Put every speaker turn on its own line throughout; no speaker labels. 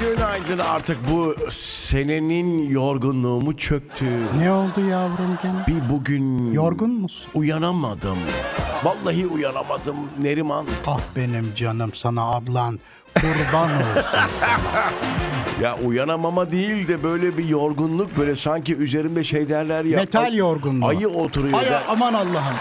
Günaydın artık bu senenin yorgunluğu mu çöktü?
Ne oldu yavrum gene?
Bir bugün
Yorgun musun?
uyanamadım. Vallahi uyanamadım Neriman.
Ah benim canım sana ablan kurban olsun.
Ya uyanamama değil de böyle bir yorgunluk böyle sanki üzerimde şey derler ya.
Metal
ay-
yorgunluğu.
Ayı oturuyor.
Ay,
der.
aman Allah'ım.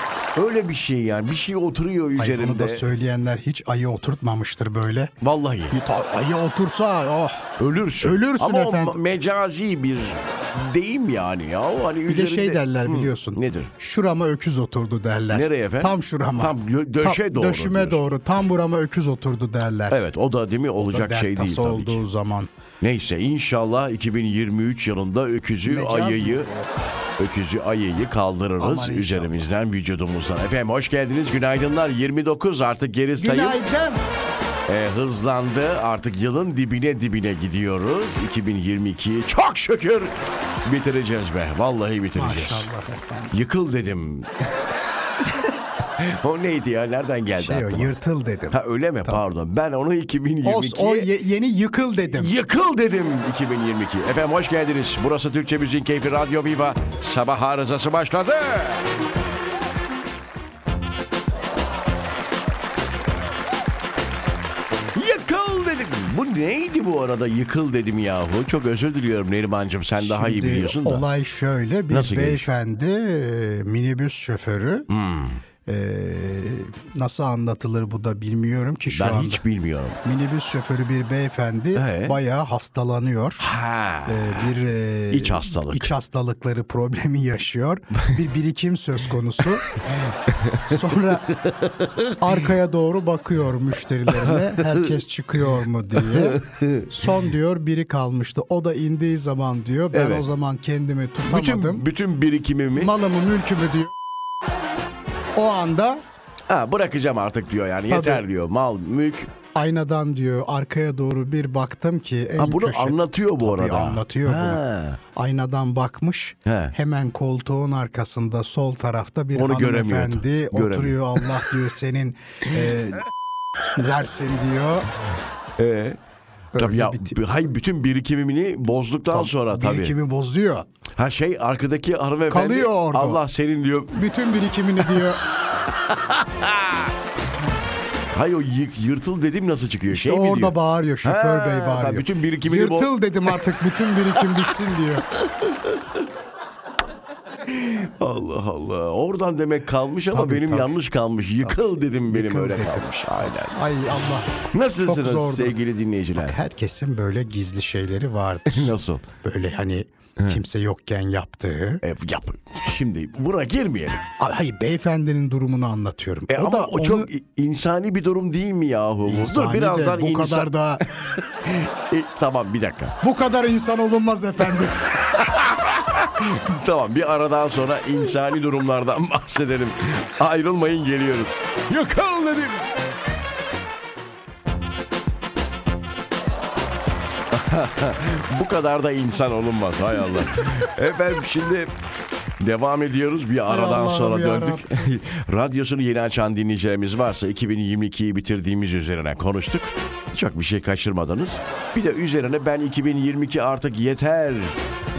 Öyle bir şey yani bir şey oturuyor
Ay, bunu
üzerimde.
da söyleyenler hiç ayı oturtmamıştır böyle.
Vallahi
Bir ta- ayı otursa oh.
ölürsün.
Ölürsün
Ama o
efendim.
ma- mecazi bir deyim yani ya. O Hani
Bir de şey derler biliyorsun.
Nedir?
Şurama öküz oturdu derler.
Nereye efendim?
Tam şurama.
Tam gö- döşe
Tam-
doğru
Döşüme
diyorsun.
doğru. Tam burama öküz oturdu derler.
Evet o da değil mi olacak
Dert
şey değil
tası
tabii ki.
olduğu zaman.
Neyse inşallah 2023 yılında öküzü
Mecaz mı?
ayıyı öküzü ayıyı kaldırırız
Aman inşallah.
üzerimizden vücudumuzdan. Efendim hoş geldiniz günaydınlar 29 artık geri sayım
Günaydın.
e, hızlandı artık yılın dibine dibine gidiyoruz 2022'yi çok şükür bitireceğiz be vallahi bitireceğiz.
Maşallah efendim.
Yıkıl dedim. o neydi ya nereden geldi
Şey o,
aklıma?
yırtıl dedim.
Ha öyle mi pardon ben onu 2022'ye
Os, o ye- yeni yıkıl dedim.
Yıkıl dedim 2022. Efendim hoş geldiniz. Burası Türkçe Müziğin Keyfi Radyo Viva. Sabah arızası başladı. Yıkıl dedim. Bu neydi bu arada yıkıl dedim yahu. Çok özür diliyorum Nerimancığım sen daha iyi
Şimdi
biliyorsun da.
Olay şöyle bir
Nasıl gelişiyor?
beyefendi e, minibüs şoförü
Hmm.
e, nasıl anlatılır bu da bilmiyorum ki şu
ben
anda.
hiç bilmiyorum.
Minibüs şoförü bir beyefendi
Ee?
bayağı hastalanıyor.
Ha.
E, bir e,
İç hastalık.
iç hastalıkları problemi yaşıyor. Bir birikim söz konusu. Sonra arkaya doğru bakıyor müşterilerine. Herkes çıkıyor mu diye. Son diyor biri kalmıştı. O da indiği zaman diyor ben
Evet.
o zaman kendimi tutamadım.
bütün bütün birikimimi
Malımı mülkümü diyor. O anda
ha, bırakacağım artık diyor yani. Yeter diyor. Mal, mülk.
aynadan diyor arkaya doğru bir baktım ki en
Ha, bunu
köşe-
anlatıyor bu
Tabii
arada.
anlatıyor bunu.
Ha.
aynadan bakmış.
He.
Hemen koltuğun arkasında sol tarafta bir
Onu
hanımefendi
göremiyordu.
oturuyor.
Göremiyor.
Allah diyor senin e, versin diyor.
Ee, tabii ya,
bir tip-
bi- hay bütün birikimini bozduktan sonra tabii.
Birikimi bozuyor.
Ha şey arkadaki hanımefendi
Kalıyor orada.
Allah senin diyor.
Bütün birikimini diyor.
Hay o yık, yırtıl dedim nasıl çıkıyor şey mi
orada
diyor?
bağırıyor. Şoför
Ha,
bey bağırıyor.
ben bütün birikimini bo-
Yırtıl dedim artık bütün birikim bitsin diyor.
Allah Allah. Oradan demek kalmış ama
Tabii,
benim
tabii.
yanlış kalmış. Yıkıl dedim benim
Yıkıl
öyle
dedim.
kalmış. Aynen.
Ay Allah.
Nasılsınız
zordu.
sevgili dinleyiciler?
Herkesin böyle gizli şeyleri vardır.
Nasıl?
Böyle hani kimse yokken yaptığı.
E, yap. Şimdi buna girmeyelim.
Ay, Hayır beyefendinin durumunu anlatıyorum.
E, ama o çok
onu-
i- insani bir durum değil mi yahu? bu? Dur
İnsani de
birazdan
bu
insan-
kadar da
E, tamam bir dakika.
bu kadar insan olunmaz efendim.
Tamam bir aradan sonra insani durumlardan bahsedelim. Ayrılmayın geliyoruz. Yakal dedim. Bu kadar da insan olunmaz hay Allah. Efendim şimdi devam ediyoruz bir aradan
Allah'ım
sonra
ya
döndük. Radyosunu yeni açan dinleyicilerimiz varsa 2022'yi bitirdiğimiz üzerine konuştuk. Çok bir şey kaçırmadınız. Bir de üzerine ben 2022 artık yeter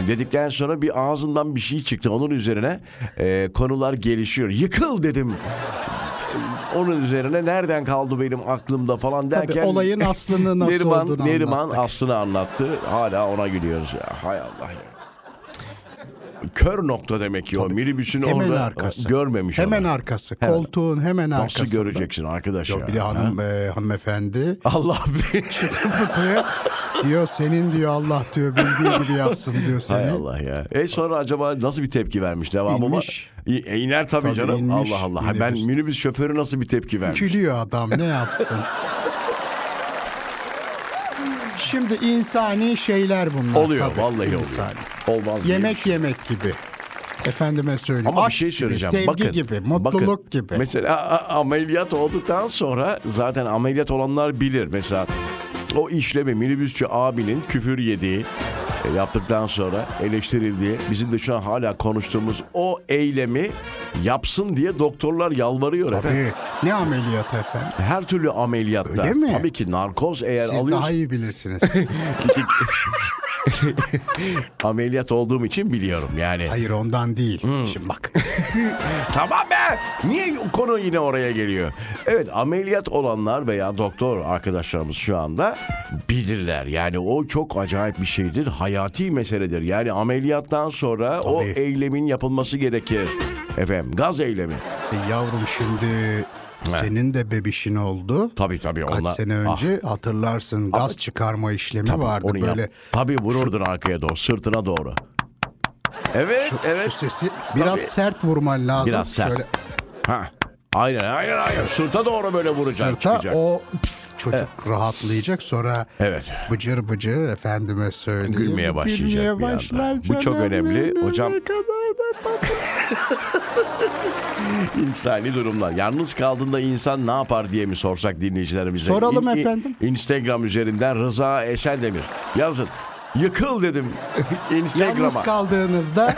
dedikten sonra bir ağzından bir şey çıktı. Onun üzerine e, konular gelişiyor. Yıkıl dedim. Onun üzerine nereden kaldı benim aklımda falan derken
Tabii olayın aslını nasıl olduğunu
Neriman, Neriman
anlattık.
aslını anlattı. Hala ona gülüyoruz ya. Hay Allah ya. Kör nokta demek ki o. Minibüsün
Hemen
orada
arkası.
görmemiş
Hemen
onu.
arkası,
Hemen.
koltuğun hemen
Nasıl
arkasında.
göreceksin arkadaş ya?
Bir de
Ha?
hanım e, hanımefendi
Allah bir
diyor, diyor senin diyor Allah diyor bildiği gibi yapsın diyor seni.
Hay Allah ya. E sonra acaba nasıl bir tepki vermiş devamı
İnmiş.
mı? İ- E, iner tabii,
Tabii
canım.
inmiş
Allah Allah. Ha, Ben
minibüs.
minibüs şoförü nasıl bir tepki vermiş?
Gülüyor adam ne yapsın? Şimdi insani şeyler bunlar.
Oluyor
tabii,
vallahi oluyor.
insani.
Olmaz diye
Yemek
düşünüyorum.
yemek gibi. Efendime söyleyeyim.
Ama bir
Aşk
şey
gibi,
söyleyeceğim.
sevgi
bakın,
gibi, mutluluk
bakın.
gibi.
Mesela a- a- ameliyat olduktan sonra zaten ameliyat olanlar bilir. Mesela o işlemi minibüsçü abinin küfür yediği e, yaptıktan sonra eleştirildiği bizim de şu an hala konuştuğumuz o eylemi yapsın diye doktorlar yalvarıyor efendim.
Ne ameliyat efendim?
Her türlü ameliyatta.
Öyle mi?
Tabii ki narkoz eğer
Siz
alıyorsa
daha iyi bilirsiniz.
ameliyat olduğum için biliyorum yani.
Hayır ondan değil.
Hmm.
Şimdi bak.
Tamam be! Niye konu yine oraya geliyor? Evet ameliyat olanlar veya doktor arkadaşlarımız şu anda bilirler. Yani o çok acayip bir şeydir. Hayati meseledir. Yani ameliyattan sonra o
Tabii.
eylemin yapılması gerekir. Efendim gaz eylemi.
E, yavrum şimdi senin de bebişin oldu.
Tabii tabii.
Kaç
onlar-
sene
Ah,
önce hatırlarsın gaz çıkarma işlemi vardı
onu yap.
böyle.
Tabii vururdun arkaya doğru, sırtına doğru. Evet, evet.
Şu sesi biraz sert vurman lazım.
Biraz sert.
Şöyle
Ha. Aynen, aynen, aynen. Sırta doğru böyle vuracaksın,
sırta
çıkacak.
o pis, çocuk rahatlayacak sonra
Evet.
bıcır bıcır efendime söyleyeyim.
Gülmeye başlayacak bir anda. Bu çok önemli. Hocam-
Ne kadar da tatlı.
İnsani durumlar. Yalnız kaldığında insan ne yapar diye mi sorsak dinleyicilerimize?
Soralım efendim.
Instagram üzerinden Rıza Esendemir. Yazın. Yıkıl dedim
Yalnız
Instagram'a.
kaldığınızda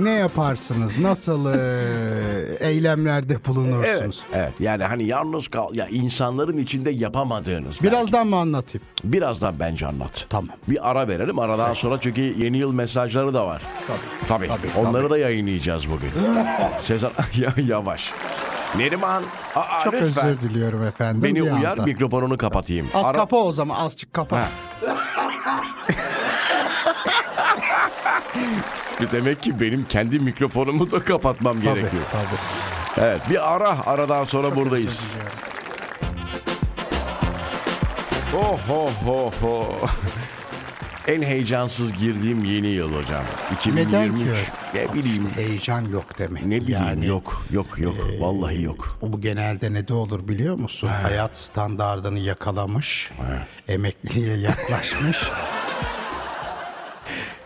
ne yaparsınız? Nasıl e, eylemlerde bulunursunuz?
evet, evet. Yani hani yalnız kal ya insanların içinde yapamadığınız. Biraz
Birazdan mı anlatayım?
birazdan bence anlat.
Tamam.
Bir ara verelim. Aradan sonra çünkü yeni yıl mesajları da var. Tabii.
Tabii,
Onları da yayınlayacağız bugün. Sezar Ya- yavaş. Neriman, aa,
Çok
lütfen.
özür diliyorum efendim.
Beni
bir
uyar,
anda.
mikrofonunu kapatayım.
Az
Ara-
kapa o zaman azıcık kapa.
Ha. Demek ki benim kendi mikrofonumu da kapatmam
Tabii,
gerekiyor.
tabii.
Evet bir ara aradan sonra buradayız. Oh ho ho ho. En heyecansız girdiğim yeni yıl hocam. 2023.
Neden ki?
Ne bileyim.
Heyecan yok demek.
Ne bileyim
yani. e,
yok yok yok vallahi yok.
Bu bu genelde ne de olur biliyor musun? Hayat standardını yakalamış, emekliliğe yaklaşmış.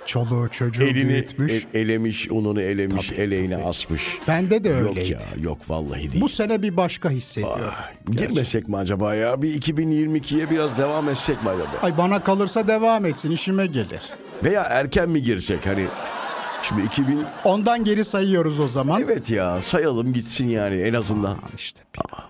Çoluğu çocuğu
Elini
büyütmüş.
e- elemiş, ununu elemiş, eleğine asmış.
Bende de
Yok
öyleydi.
ya yok vallahi değil.
Bu sene bir başka hissediyorum.
Ah, Girmesek mi acaba ya? Bir 2022'ye biraz devam etsek mi acaba?
Ay bana kalırsa devam etsin işime gelir.
Veya erken mi girsek hani? Şimdi 2000
Ondan geri sayıyoruz o zaman.
Evet ya sayalım gitsin yani en azından. Ah,
İşte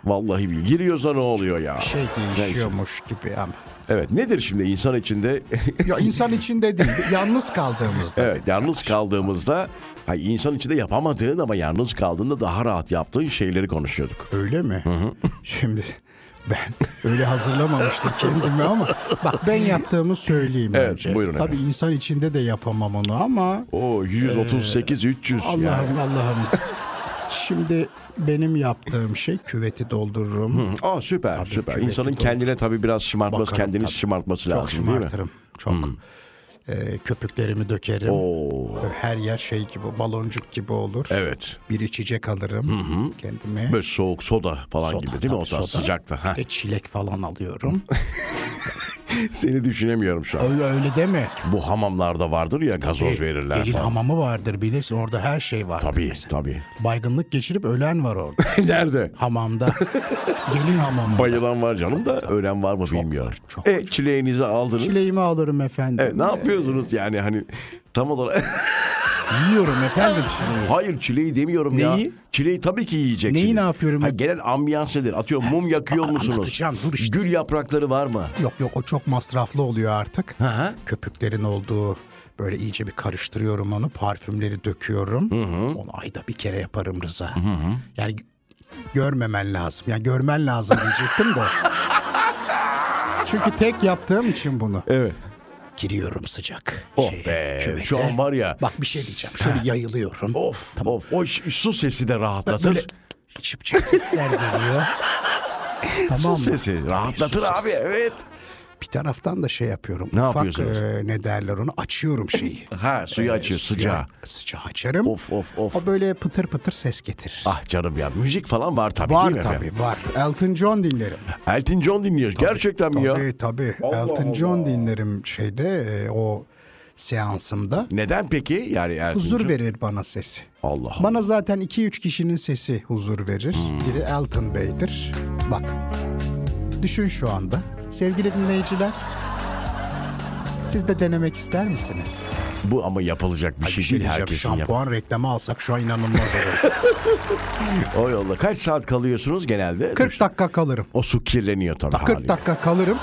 Vallahi bil. Giriyoruz da ne oluyor ya?
bir şey değişiyormuş gibi ama.
Evet nedir şimdi insan içinde?
Ya insan içinde değil, yalnız kaldığımızda.
evet yalnız kaldığımızda Hayır, insan içinde yapamadığın ama yalnız kaldığında daha rahat yaptığın şeyleri konuşuyorduk.
Öyle mi? Şimdi ben öyle hazırlamamıştım kendimi ama bak ben yaptığımı söyleyeyim
Evet,
önce.
buyurun
Tabii
efendim.
insan içinde de yapamam onu ama
O 138
Ee,
300
Allah'ım
yani.
Allah'ım. Şimdi benim yaptığım şey küveti doldururum.
Aa süper süper.
küveti
İnsanın
doldur-
kendine tabii biraz şımartması,
Bakarım
kendini
tabii.
şımartması
Çok
lazım değil mi?
şımartırım. Çok. Ee, köpüklerimi dökerim.
Oo.
Böyle Her yer şey gibi baloncuk gibi olur.
Evet.
Bir içecek alırım kendime.
Böyle soğuk soda falan
Soda,
gibi değil mi? O
tabii
zaman
soda.
sıcakta. Ha.
Bir de çilek falan alıyorum.
Seni düşünemiyorum şu an.
öyle öyle deme.
Bu hamamlarda vardır ya gazoz verirler.
Gelin
falan.
hamamı vardır bilirsin orada her şey var.
Tabii tabii.
Baygınlık geçirip ölen var orada
Nerede?
hamamda. Gelin hamamı.
Bayılan var canım da ölen var mı bilmiyorum.
çok
e, çileğinizi aldınız.
Çileğimi alırım efendim.
E, ne yapıyorsunuz
Ee.
yani hani tam olarak
Yiyorum efendim çileği.
hayır çileği demiyorum ya.
Neyi?
Çileği tabii ki yiyeceksiniz.
Neyi ne yapıyorum?
Ha, genel ambiyans nedir? Atıyor mum yakıyor musunuz?
anlatacağım, dur işte.
Gül yaprakları var mı?
Yok yok o çok masraflı oluyor artık.
Hı hı.
Köpüklerin olduğu böyle iyice bir karıştırıyorum onu. Parfümleri döküyorum. Onu ayda bir kere yaparım Rıza. Yani görmemen lazım. Yani görmen lazım diyecektim de. Çünkü tek yaptığım için bunu.
Evet.
Giriyorum sıcak.
Oh be, şu an var ya- Oh.
Bak bir şey diyeceğim. Şöyle yayılıyorum.
Of of. O ş- su sesi de rahatlatır.
Böyle çıpçık sesler geliyor. tamam
Su
mı?
sesi
Tabii,
rahatlatır
su sesi.
abi evet.
Bir taraftan da şey yapıyorum.
Ne
ufak,
yapıyorsunuz?
e, ne derler onu? Açıyorum şeyi.
Ha Ee, suyu açıyor
Suyu
sıcağı.
Sıcağı açarım.
Of of of.
O böyle pıtır pıtır ses getirir.
Ah canım ya müzik falan var tabii
var
değil mi
tabii
efendim?
var. Elton John dinlerim.
Elton John dinliyoruz. Gerçekten mi ya?
Tabii tabii. Elton John dinlerim şeyde e, o seansımda.
Neden peki? Yani Elton
Huzur
John-
verir bana sesi.
Allah Allah.
Bana zaten 2-3 kişinin sesi huzur verir.
Hmm.
Biri Elton Bey'dir. Bak. Düşün şu anda. Sevgili dinleyiciler. Siz de denemek ister misiniz?
Bu ama yapılacak bir
Bir
şey,
şey
değil
diyeceğim.
herkesin yap.
Şampuan reklamı alsak şu an inanılmaz olur.
O yolla kaç saat kalıyorsunuz genelde?
40 dakika kalırım.
O su kirleniyor tabii.
Da- 40
haliyle.
dakika kalırım.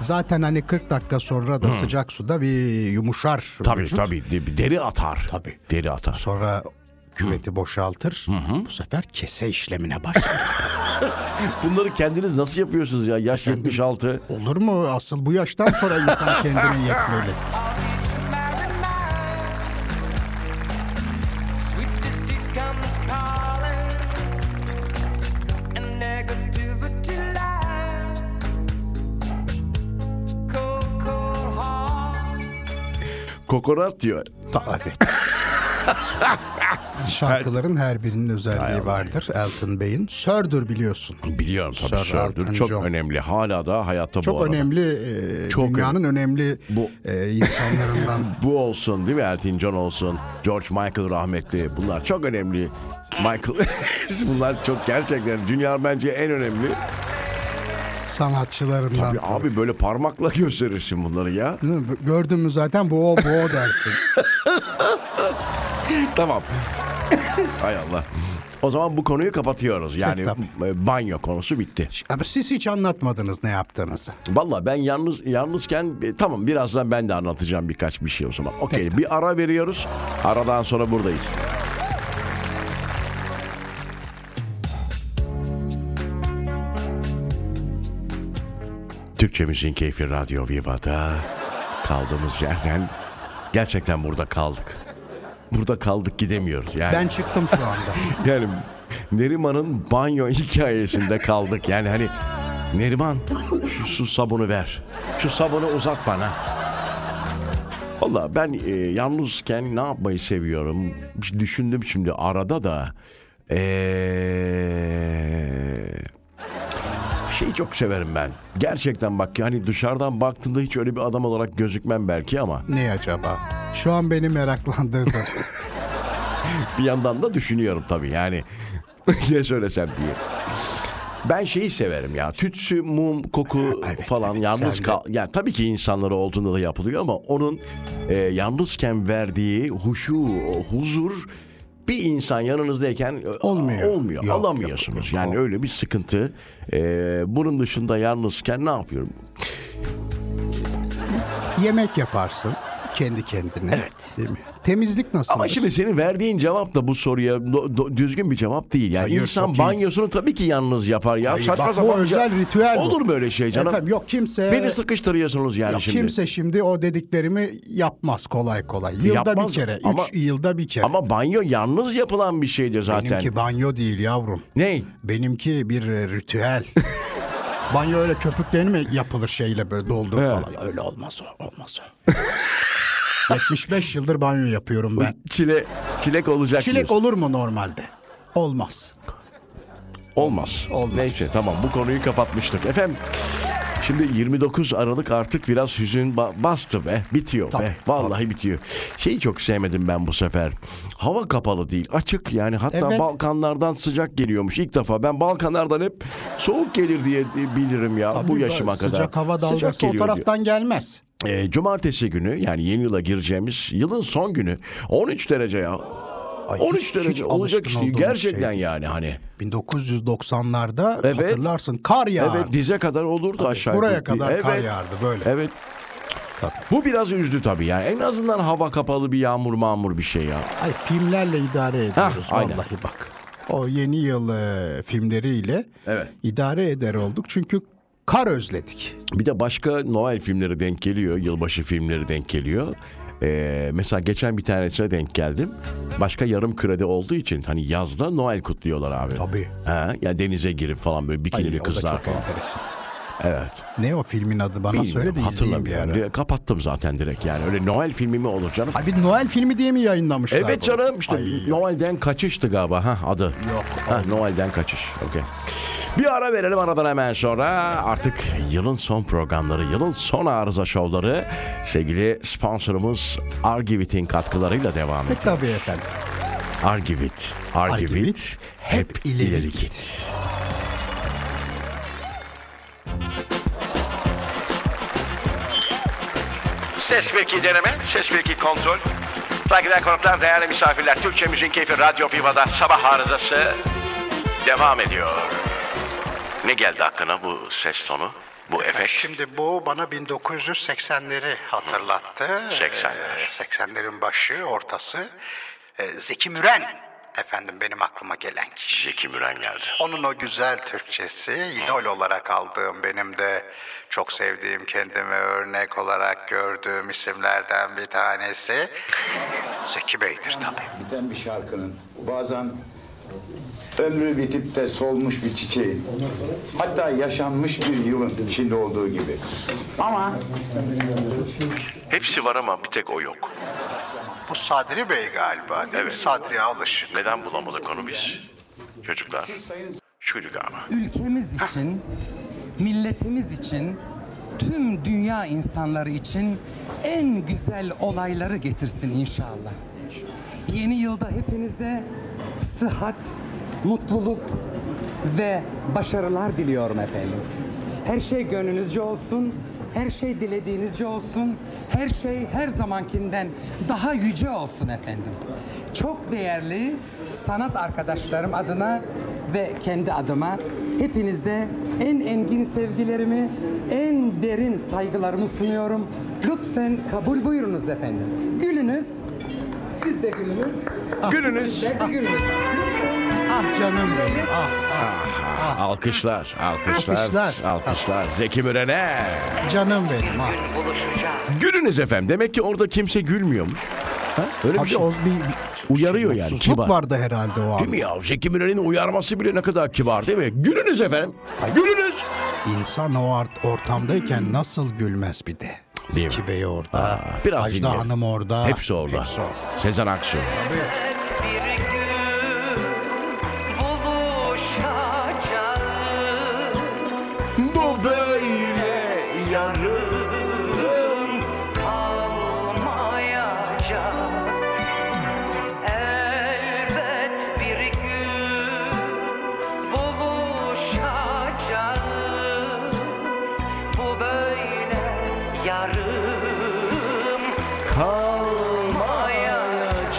Zaten hani 40 dakika sonra da sıcak suda bir yumuşar.
Hmm. Tabii Hmm.
vücut.
tabii. De- Deri atar.
Tabii.
Deri atar.
Sonra küveti boşaltır. Bu sefer kese işlemine başlar.
Bunları kendiniz nasıl yapıyorsunuz ya? Yaş 76.
olur mu? Asıl bu yaştan sonra insan kendine yetmeli.
I'll reach the mariner. Sweet deceit comes calling, and negativity lies. Cold, cold heart.
Kokonat diyor.
Ta- evet. Şarkıların her birinin özelliği vardır Elton Bey'in. Sördür biliyorsun.
Biliyorum tabii.
Sir Elton
Sördür. Çok
John.
önemli. Hala da hayatta bu
Çok
arada.
önemli, e,
Çok
dünyanın önemli
Bu-
e, insanlarından
Bu olsun değil mi? Elton John olsun. George Michael rahmetli. Bunlar çok önemli. Michael. Bunlar çok gerçekten dünya bence en önemli.
sanatçılarından.
Ya abi böyle parmakla gösterirsin bunları ya.
Değil mi? Gördün mü zaten bu o bu o dersin.
tamam. Hay Allah. O zaman bu konuyu kapatıyoruz. Yani
Tabii.
e, banyo konusu bitti.
Ama siz hiç anlatmadınız ne yaptığınızı.
Valla ben yalnız yalnızken e, tamam birazdan ben de anlatacağım birkaç bir şey o zaman. Okey bir ara veriyoruz. Aradan sonra buradayız. Türkçemizin keyfi Radyo Viva'da kaldığımız yerden gerçekten burada kaldık. Burada kaldık gidemiyoruz yani.
Ben çıktım şu anda.
Yani Neriman'ın banyo hikayesinde kaldık. Yani hani Neriman şu su sabunu ver. Şu sabunu uzat bana. Valla ben e, yalnızken ne yapmayı seviyorum? Düşündüm şimdi arada da. E, Eee şeyi çok severim ben. Gerçekten bak yani dışarıdan baktığında hiç öyle bir adam olarak gözükmem belki ama
ne acaba? Şu an beni meraklandırdı.
bir yandan da düşünüyorum tabii yani ne söylesem diye. Ben şeyi severim ya. Tütsü, mum, koku
evet,
falan
evet,
yalnız
sen de.
kal. Yani tabii ki insanları olduğunda da yapılıyor ama onun e, yalnızken verdiği huşu, o huzur bir insan yanınızdayken e,
Olmuyor.
Olmuyor.
Yok,
alamıyorsunuz.
yok, yok,
yani
yok.
öyle bir sıkıntı. E, bunun dışında yalnızken ne yapıyorum?
Yemek yaparsın kendi kendine. Evet. Değil mi? Temizlik nasıl?
Ama şimdi senin verdiğin cevap da bu soruya do- do- düzgün bir cevap değil. Yani
Hayır,
insan
çok iyi.
banyosunu tabii ki yalnız yapar ya.
Hayır,
Saçma
bak bu
sapan bir
özel ritüel bu.
Olur mu öyle şey canım?
Efendim yok kimse
Beni sıkıştırıyorsunuz yani
yok
şimdi.
kimse şimdi o dediklerimi yapmaz kolay kolay. Yılda
Yapmaz
bir kere,
ama-
üç yılda bir kere.
Ama banyo yalnız yapılan bir şeydir zaten.
Benimki banyo değil yavrum.
Ne?
Benimki bir e, ritüel. Banyo öyle köpüklerini mi yapılır şeyle böyle doldur falan. Öyle olmaz o, olmaz o. 75 yıldır banyo yapıyorum ben.
Çile, çilek olacak
Çilek
diyorsun.
olur mu normalde? Olmaz.
olmaz.
Olmaz.
Neyse tamam bu konuyu kapatmıştık. Efendim şimdi 29 Aralık artık biraz hüzün ba- bastı be. Bitiyor
Tabii,
be. Vallahi bitiyor. Şeyi çok sevmedim ben bu sefer. Hava kapalı değil açık yani hatta
Evet.
Balkanlardan sıcak geliyormuş ilk defa. Ben Balkanlardan hep soğuk gelir diye bilirim ya bu
Tabii
yaşıma
sıcak
kadar.
hava dalgası
geliyor
o
diyor.
taraftan gelmez.
E, cumartesi günü yani yeni yıla gireceğimiz yılın son günü 13 derece ya. 13
hiç-
derece
hiç
olacak
alışkın
işte
olduğumuz
gerçekten
şey değil.
yani hani.
1990'larda
Evet.
hatırlarsın kar yağardı.
Evet dize kadar olurdu aşağı
Buraya
yukarı.
kadar kar
Evet,
yağardı böyle.
Evet.
Tabii.
Bu biraz üzdü tabii yani. En azından hava kapalı bir yağmur mağmur bir şey ya.
Ay filmlerle idare ediyoruz
Hah, aynen.
vallahi bak. O yeni yıl e, filmleriyle
Evet.
idare eder olduk. Çünkü kar özledik.
Bir de başka Noel filmleri denk geliyor. Yılbaşı filmleri denk geliyor. Ee, mesela geçen bir tanesine denk geldim. Başka yarım kredi olduğu için hani yazda Noel kutluyorlar abi.
Tabii.
Ha, ya denize girip falan böyle
Ay,
bikinili
o da
kızlar
çok
falan.
enteresan.
Evet.
Ne o filmin adı bana söyle de
Bilmiyorum,
izleyeyim bir
hatırlamıyorum.
ara.
Direkt Kapattım zaten direkt yani. Öyle Noel filmi mi olur canım?
Ay bir Noel filmi diye mi yayınlamışlar
evet
bunu?
canım işte
Ay,
Noel'den kaçıştı galiba ha adı.
Yok,
Ha, Noel'den kaçış. Okey. Bir ara verelim aradan hemen sonra artık yılın son programları, yılın son arıza şovları sevgili sponsorumuz Argivit'in katkılarıyla devam ediyor.
E tabii efendim.
Argivit, Argivit,
Argivit,
hep,
hep
ileri,
ileri
git.
Ses veki deneme, ses veki kontrol.
Saygıdeğer konuklar, değerli misafirler, Türkçe Müzik Keyfi Radyo Viva'da sabah arızası devam ediyor. Ne geldi hakkına bu ses tonu, bu efekt?
Şimdi bu bana 1980'leri hatırlattı.
80'ler.
Ee, 80'lerin başı, ortası. Ee, Zeki Müren efendim benim aklıma gelen kişi.
Zeki Müren geldi.
Onun o güzel Türkçesi idol olarak aldığım benim de çok sevdiğim kendimi örnek olarak gördüğüm isimlerden bir tanesi Zeki Bey'dir tabii.
biten bir şarkının bazen ömrü bitip de solmuş bir çiçeğin hatta yaşanmış bir yılın içinde olduğu gibi. Ama
Hepsi var ama bir tek o yok.
Bu Sadri Bey galiba değil mi?
Evet.
Sadri Alışık.
Neden bulamadık onu biz? Çocuklar. Şuydu galiba.
ülkemiz için, milletimiz için, tüm dünya insanları için en güzel olayları getirsin inşallah. Yeni yılda hepinize sıhhat, mutluluk ve başarılar diliyorum efendim. Her şey gönlünüzce olsun, her şey dilediğinizce olsun, her şey her zamankinden daha yüce olsun efendim. Çok değerli sanat arkadaşlarım adına ve kendi adıma hepinize en engin sevgilerimi, en derin saygılarımı sunuyorum. Lütfen kabul buyurunuz efendim. Gülünüz, siz de gülünüz.
Gülünüz.
Ben de gülünüz.
Ah canım benim ah
Alkışlar, alkışlar, alkışlar.
Alkışlar.
Zeki Müren'e.
canım benim ah.
Gülünüz efendim. Demek ki orada kimse gülmüyormuş. Ha? Öyle bir
Abi
şey.
o bir, bir
Uyarıyor yani,
mutsuzluk
kibar.
vardı herhalde o an.
Değil mi ya? Zeki Müren'in uyarması bile ne kadar kibar değil mi? Gülünüz efendim. Gülünüz.
İnsan o art-
Hmm.
ortamdayken nasıl gülmez bir de.
Değil mi?
Zeki Bey orada.
biraz
Ajda
dinleyelim.
Hanım orada.
Hepsi orada.
Hepsi orada.
Sezen Aksu.
bir gün buluşacağız.
Bu böyle yarım.
kalmayacak Elbet bir gün buluşacağız Bu böyle yarım
Kalmayacak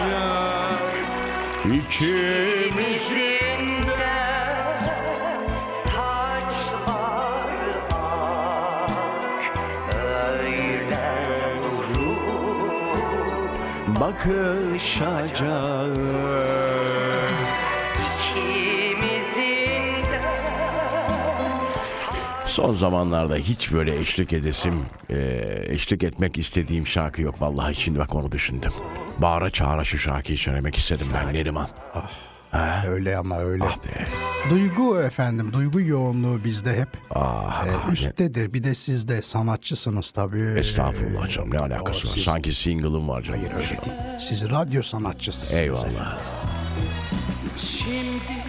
ikimiz.
İçinde saçlar ak Öyle durur
bakışacak.
İkimizin de
Son zamanlarda hiç böyle eşlik edesim, eee, eşlik etmek istediğim şarkı yok. Vallahi şimdi bak onu düşündüm. Bağıra çağıra şu şarkıyı söylemek istedim ben Neriman.
Öyle ama öyle.
Ah be.
Duygu efendim, duygu yoğunluğu bizde hep
Ah,
e,
ah, ne-
üsttedir. Bir de siz de sanatçısınız tabii.
Estağfurullah canım ne alakası
O
var?
siz-
Sanki single'ım var canım.
Hayır öyle değil. Siz radyo sanatçısısınız. efendim.
Eyvallah.
Şimdi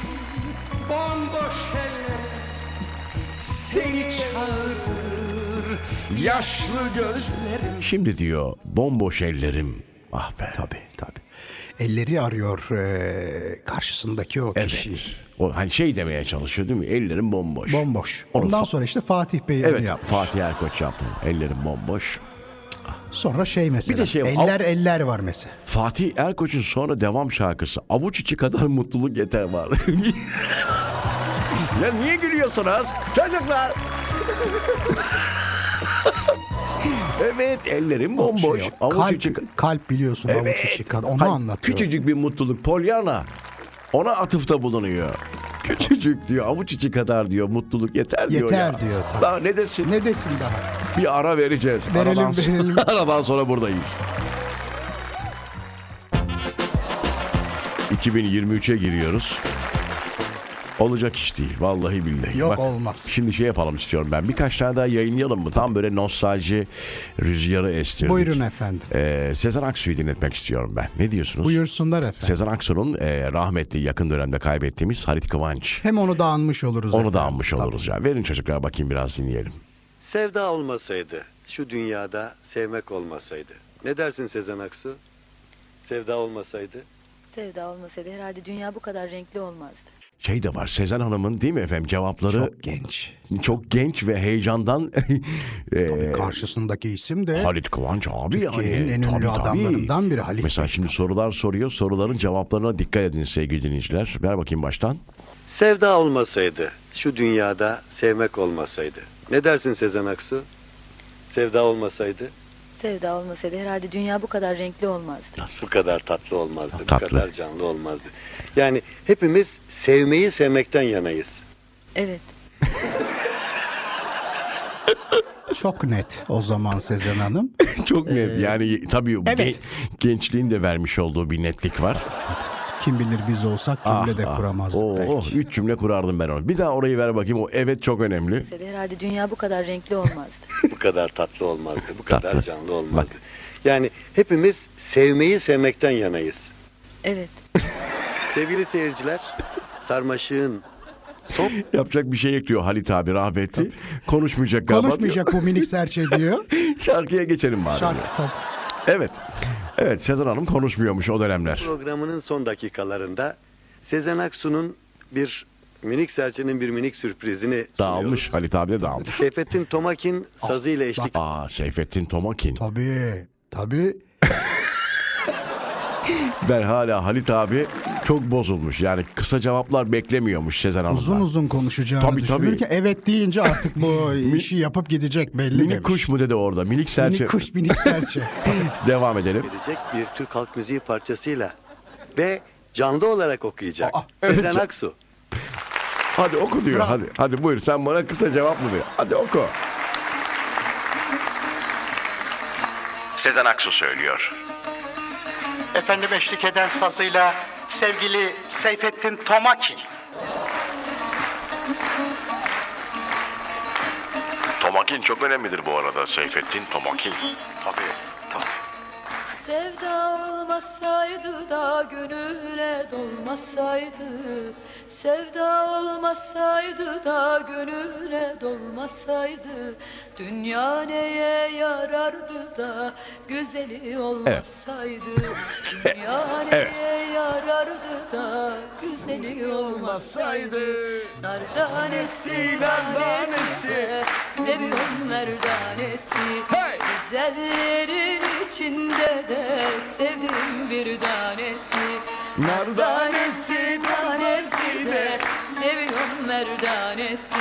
bomboş eller seni çağırır.
Yaşlı gözlerim. Şimdi diyor bomboş ellerim. Ah be.
Tabii tabii. Elleri arıyor e, karşısındaki o kişi.
Evet. O hani şey demeye çalışıyor değil mi? Ellerim bomboş.
Bomboş.
Onu
Ondan
fa-
sonra işte Fatih Bey
Evet
onu yapmış.
Fatih Erkoç yaptı. Ellerim bomboş.
Sonra şey mesela.
Bir de şey-
eller eller var mesela.
Fatih Erkoç'un sonra devam şarkısı avuç içi kadar mutluluk yeter var. ya niye gülüyorsunuz çocuklar? evet ellerim bomboş.
Şey yok.
avuç
kalp,
içi ka-
kalp biliyorsun avuç içi kadar. Onu
Hayır,
anlatıyor.
Küçücük bir mutluluk Polyana ona atıfta bulunuyor. Küçücük diyor avuç içi kadar diyor mutluluk yeter diyor
Yeter
ya.
diyor, tabii.
Daha ne desin?
Ne desin daha?
Bir ara vereceğiz.
Verelim,
aradan,
verelim.
aradan sonra buradayız. 2023'e giriyoruz. Olacak iş değil. Vallahi billahi.
Yok, olmaz.
Şimdi şey yapalım istiyorum ben. Birkaç tane daha yayınlayalım mı? Tam böyle nostalji rüzgarı estirdik.
Buyurun efendim.
Ee, Sezen Aksu'yu dinletmek istiyorum ben. Ne diyorsunuz?
Buyursunlar efendim.
Sezen Aksu'nun e, rahmetli yakın dönemde kaybettiğimiz Halit Kıvanç.
Hem onu da anmış oluruz.
Onu
efendim.
da anmış oluruz ya. Verin çocuklar bakayım biraz dinleyelim.
Sevda olmasaydı, şu dünyada sevmek olmasaydı. Ne dersin Sezen Aksu? Sevda olmasaydı?
Sevda olmasaydı herhalde dünya bu kadar renkli olmazdı.
şey de var Sezen Hanım'ın değil mi efendim cevapları
Çok genç.
çok genç ve heyecandan e,
Karşısındaki isim de
Halit Kıvanç abi
Türkiye'nin
yani.
en ünlü adamlarından biri Halit
Mesela şimdi sorular soruyor. Soruların cevaplarına dikkat edin sevgili dinleyiciler. Ver bakayım baştan.
Sevda olmasaydı, şu dünyada sevmek olmasaydı. Ne dersin Sezen Aksu? Sevda olmasaydı
Sevda olmasaydı herhalde dünya bu kadar renkli olmazdı.
bu kadar tatlı olmazdı,
Tatlı.
bu kadar canlı olmazdı. Yani hepimiz sevmeyi sevmekten yanayız.
Evet.
çok net o zaman Sezen Hanım.
Çok net. Yani tabii bu
evet.
gen- gençliğin de vermiş olduğu bir netlik var.
Kim bilir biz olsak cümle de
Ah, ah.
kuramazdık
Oo,
belki.
oh, üç cümle kurardım ben onu. Bir daha orayı ver bakayım. O evet çok önemli.
Olmasaydı herhalde dünya bu kadar renkli olmazdı.
Bu kadar tatlı olmazdı, bu
Tatlı.
kadar canlı olmazdı. Yani hepimiz sevmeyi sevmekten yanayız.
Evet.
Sevgili seyirciler, sarmaşığın
Yapacak bir şey ekliyor Halit abi rahmetli. Konuşmayacak galiba.
Konuşmayacak bu minik serçe diyor.
diyor. Şarkıya geçelim bari.
Şarkı
diyor.
tabii.
Evet. Evet Sezen Hanım konuşmuyormuş o dönemler.
programının son dakikalarında Sezen Aksu'nun bir minik serçenin bir minik sürprizini
Dağılmış
sunuyoruz.
Halit abi de dağılmış.
Seyfettin Tomakin sazıyla eşlik
Aa Seyfettin Tomakin.
Tabii. Tabii.
Ben hala Halit abi çok bozulmuş. Yani kısa cevaplar beklemiyormuş Sezen Hanım'dan.
Uzun uzun konuşacağını
Tabii, tabii.
düşünürken evet deyince artık bu işi yapıp gidecek belli
Minik
demiş.
kuş mu dedi orada? Minik serçe.
Minik kuş minik serçe.
Devam edelim.
edecek bir Türk halk müziği parçasıyla ve canlı olarak okuyacak. Sezen Aksu.
Hadi oku diyor. Hadi hadi buyur sen bana kısa cevap mı diyor. Hadi oku.
Sezen Aksu söylüyor.
Efendim eşlik eden sazıyla sevgili Seyfettin Tomaki.
Tomakin çok önemlidir bu arada Seyfettin Tomakin.
Tabii, tabii.
Sevda olmasaydı da gönüle dolmasaydı Sevda olmasaydı da gönüle dolmasaydı Dünya neye yarardı da güzeli olmasaydı Dünya neye yarardı da güzeli olmasaydı Nardanesi, nardanesi de seviyorum merdanesi Güzellerin içinde de sevdim bir tanesi Merdanesi tanesi de seviyorum merdanesi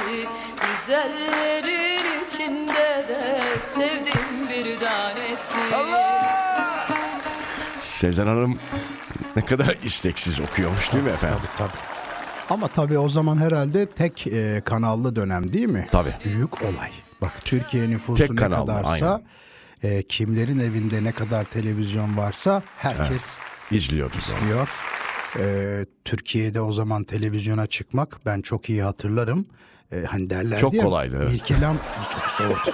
Güzellerin içinde de sevdim bir tanesi
Sezen Hanım ne kadar isteksiz okuyormuş değil mi efendim?
tabii tabii. Ama tabii o zaman herhalde tek e, kanallı dönem değil mi?
Tabii.
Büyük olay. Bak Türkiye nüfusu
Tek
ne
kanallı,
kadarsa, e, kimlerin evinde ne kadar televizyon varsa herkes
İzliyordu.
diyor. Ee, Türkiye'de o zaman televizyona çıkmak ben çok iyi hatırlarım. Ee, hani derlerdi
Çok
ya,
kolaydı, evet.
Mirkelam çok soğuktu.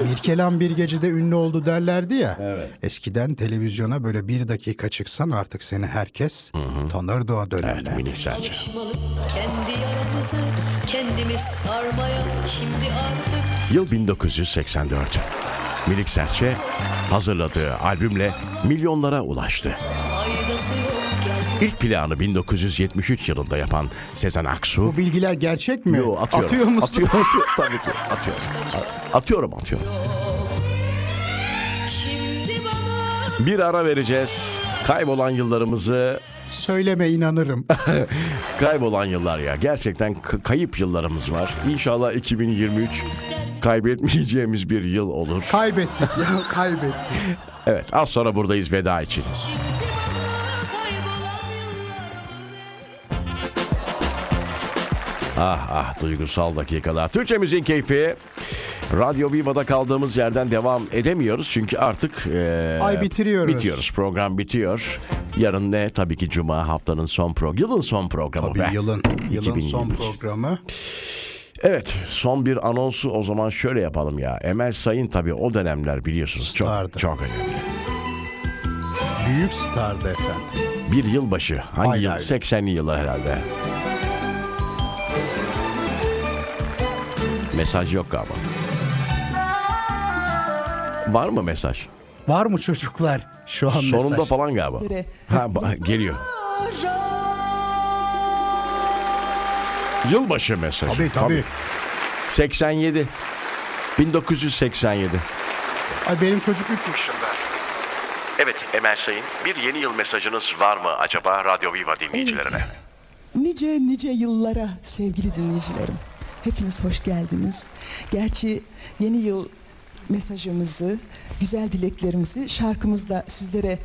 Mirkelam bir gecede ünlü oldu derlerdi ya. Eskiden televizyona böyle bir dakika çıksan artık seni herkes tanırdı o dönemde.
Minik serçe.
Alışmalı kendi yaramızı kendimiz sarmaya Şimdi artık
Yıl 1984. Minik Serçe hazırladığı albümle milyonlara ulaştı.
faydası yok gel
İlk planı 1973 yılında yapan Sezen Aksu
Bu bilgiler gerçek mi?
Yo, atıyorum.
Atıyor musun?
Atıyorum, atıyorum. Tabii ki atıyorum. A- Atıyorum atıyorum.
Şimdi bana
Bir ara vereceğiz. Kaybolan yıllarımızı,
Söyleme inanırım.
kaybolan yıllar ya. Gerçekten k- kayıp yıllarımız var. İnşallah 2023 kaybetmeyeceğimiz bir yıl olur.
kaybettik ya kaybettik.
Evet az sonra buradayız veda için.
Şimdi bana kaybolan yıllarımı ver.
Ah ah duygusal dakikalar. Türkçemizin keyfi. Radyo Viva'da kaldığımız yerden devam edemiyoruz çünkü artık eee,
Ay bitiriyoruz.
Bitiyoruz. Program bitiyor. Yarın ne? Tabii ki cuma haftanın son programı. Yılın son programı
Tabii
Oh be.
yılın, yılın son
2023.
programı.
Evet, son bir anonsu o zaman şöyle yapalım ya. Emel Sayın tabii o dönemler biliyorsunuz çok
Stardı.
çok önemli.
Büyük stardı efendim.
Bir yılbaşı hangi
Aynen
yıl?
öyle.
80'li yıllar herhalde. Mesaj yok galiba. Var mı mesaj?
Var mı çocuklar şu an
Sonunda
mesaj?
falan galiba. Ha ba- geliyor. Yılbaşı mesajı.
Tabii tabii.
87. 1987.
Ay benim çocuk üç.
Evet Emel Sayın, bir yeni yıl mesajınız var mı acaba Radyo Viva dinleyicilerine?
Nice nice yıllara sevgili dinleyicilerim. Hepiniz hoş geldiniz. Gerçi yeni yıl mesajımızı, güzel dileklerimizi şarkımızla sizlere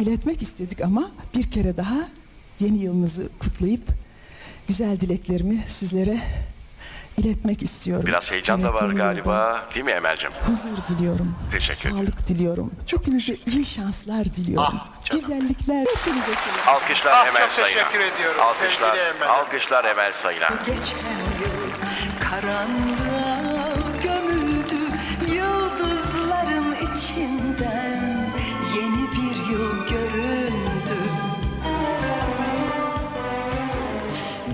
iletmek istedik ama bir kere daha yeni yılınızı kutlayıp güzel dileklerimi sizlere iletmek istiyorum.
Biraz heyecan da
Evet,
var
yeni yılda
galiba değil mi Emel'cim?
Huzur diliyorum.
Teşekkür
Sağlık diliyorum. Hepinize iyi şanslar diliyorum.
Ah
Güzellikler hepinize. sevgiler.
Alkışlar
Ah,
Emel
çok
Sayın'a.
teşekkür ediyorum
Alkışlar,
sevgili Emel.
alkışlar Emel Sayın'a.
Geçen yıl karanlığa gömüldü yıldızlarım içinden yeni bir yıl göründü.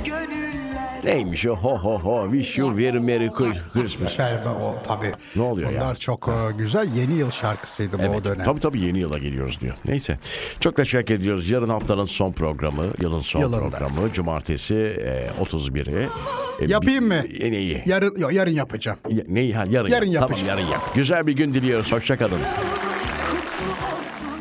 Gönüller
Neymiş o ho ho ho wish you very merry Chri- Christmas.
Galiba o tabii.
Ne oluyor ya?
Bunlar çok e, güzel yeni yıl şarkısıydı bu o dönem.
Tabii tabii yeni yıla geliyoruz diyor. Neyse. Çok teşekkür ediyoruz. Yarın haftanın son programı, yılın son
Yılında.
programı. Cumartesi e, 31'i. E,
Yapayım mı?
bi- e, neyi?
Yarın yo, yarın yapacağım.
Ya- neyi? Ha, yarın,
Yarın
yap. Tamam
yapacağım.
yarın yap. Güzel bir gün diliyoruz. Hoşçakalın.
kutlu olsun.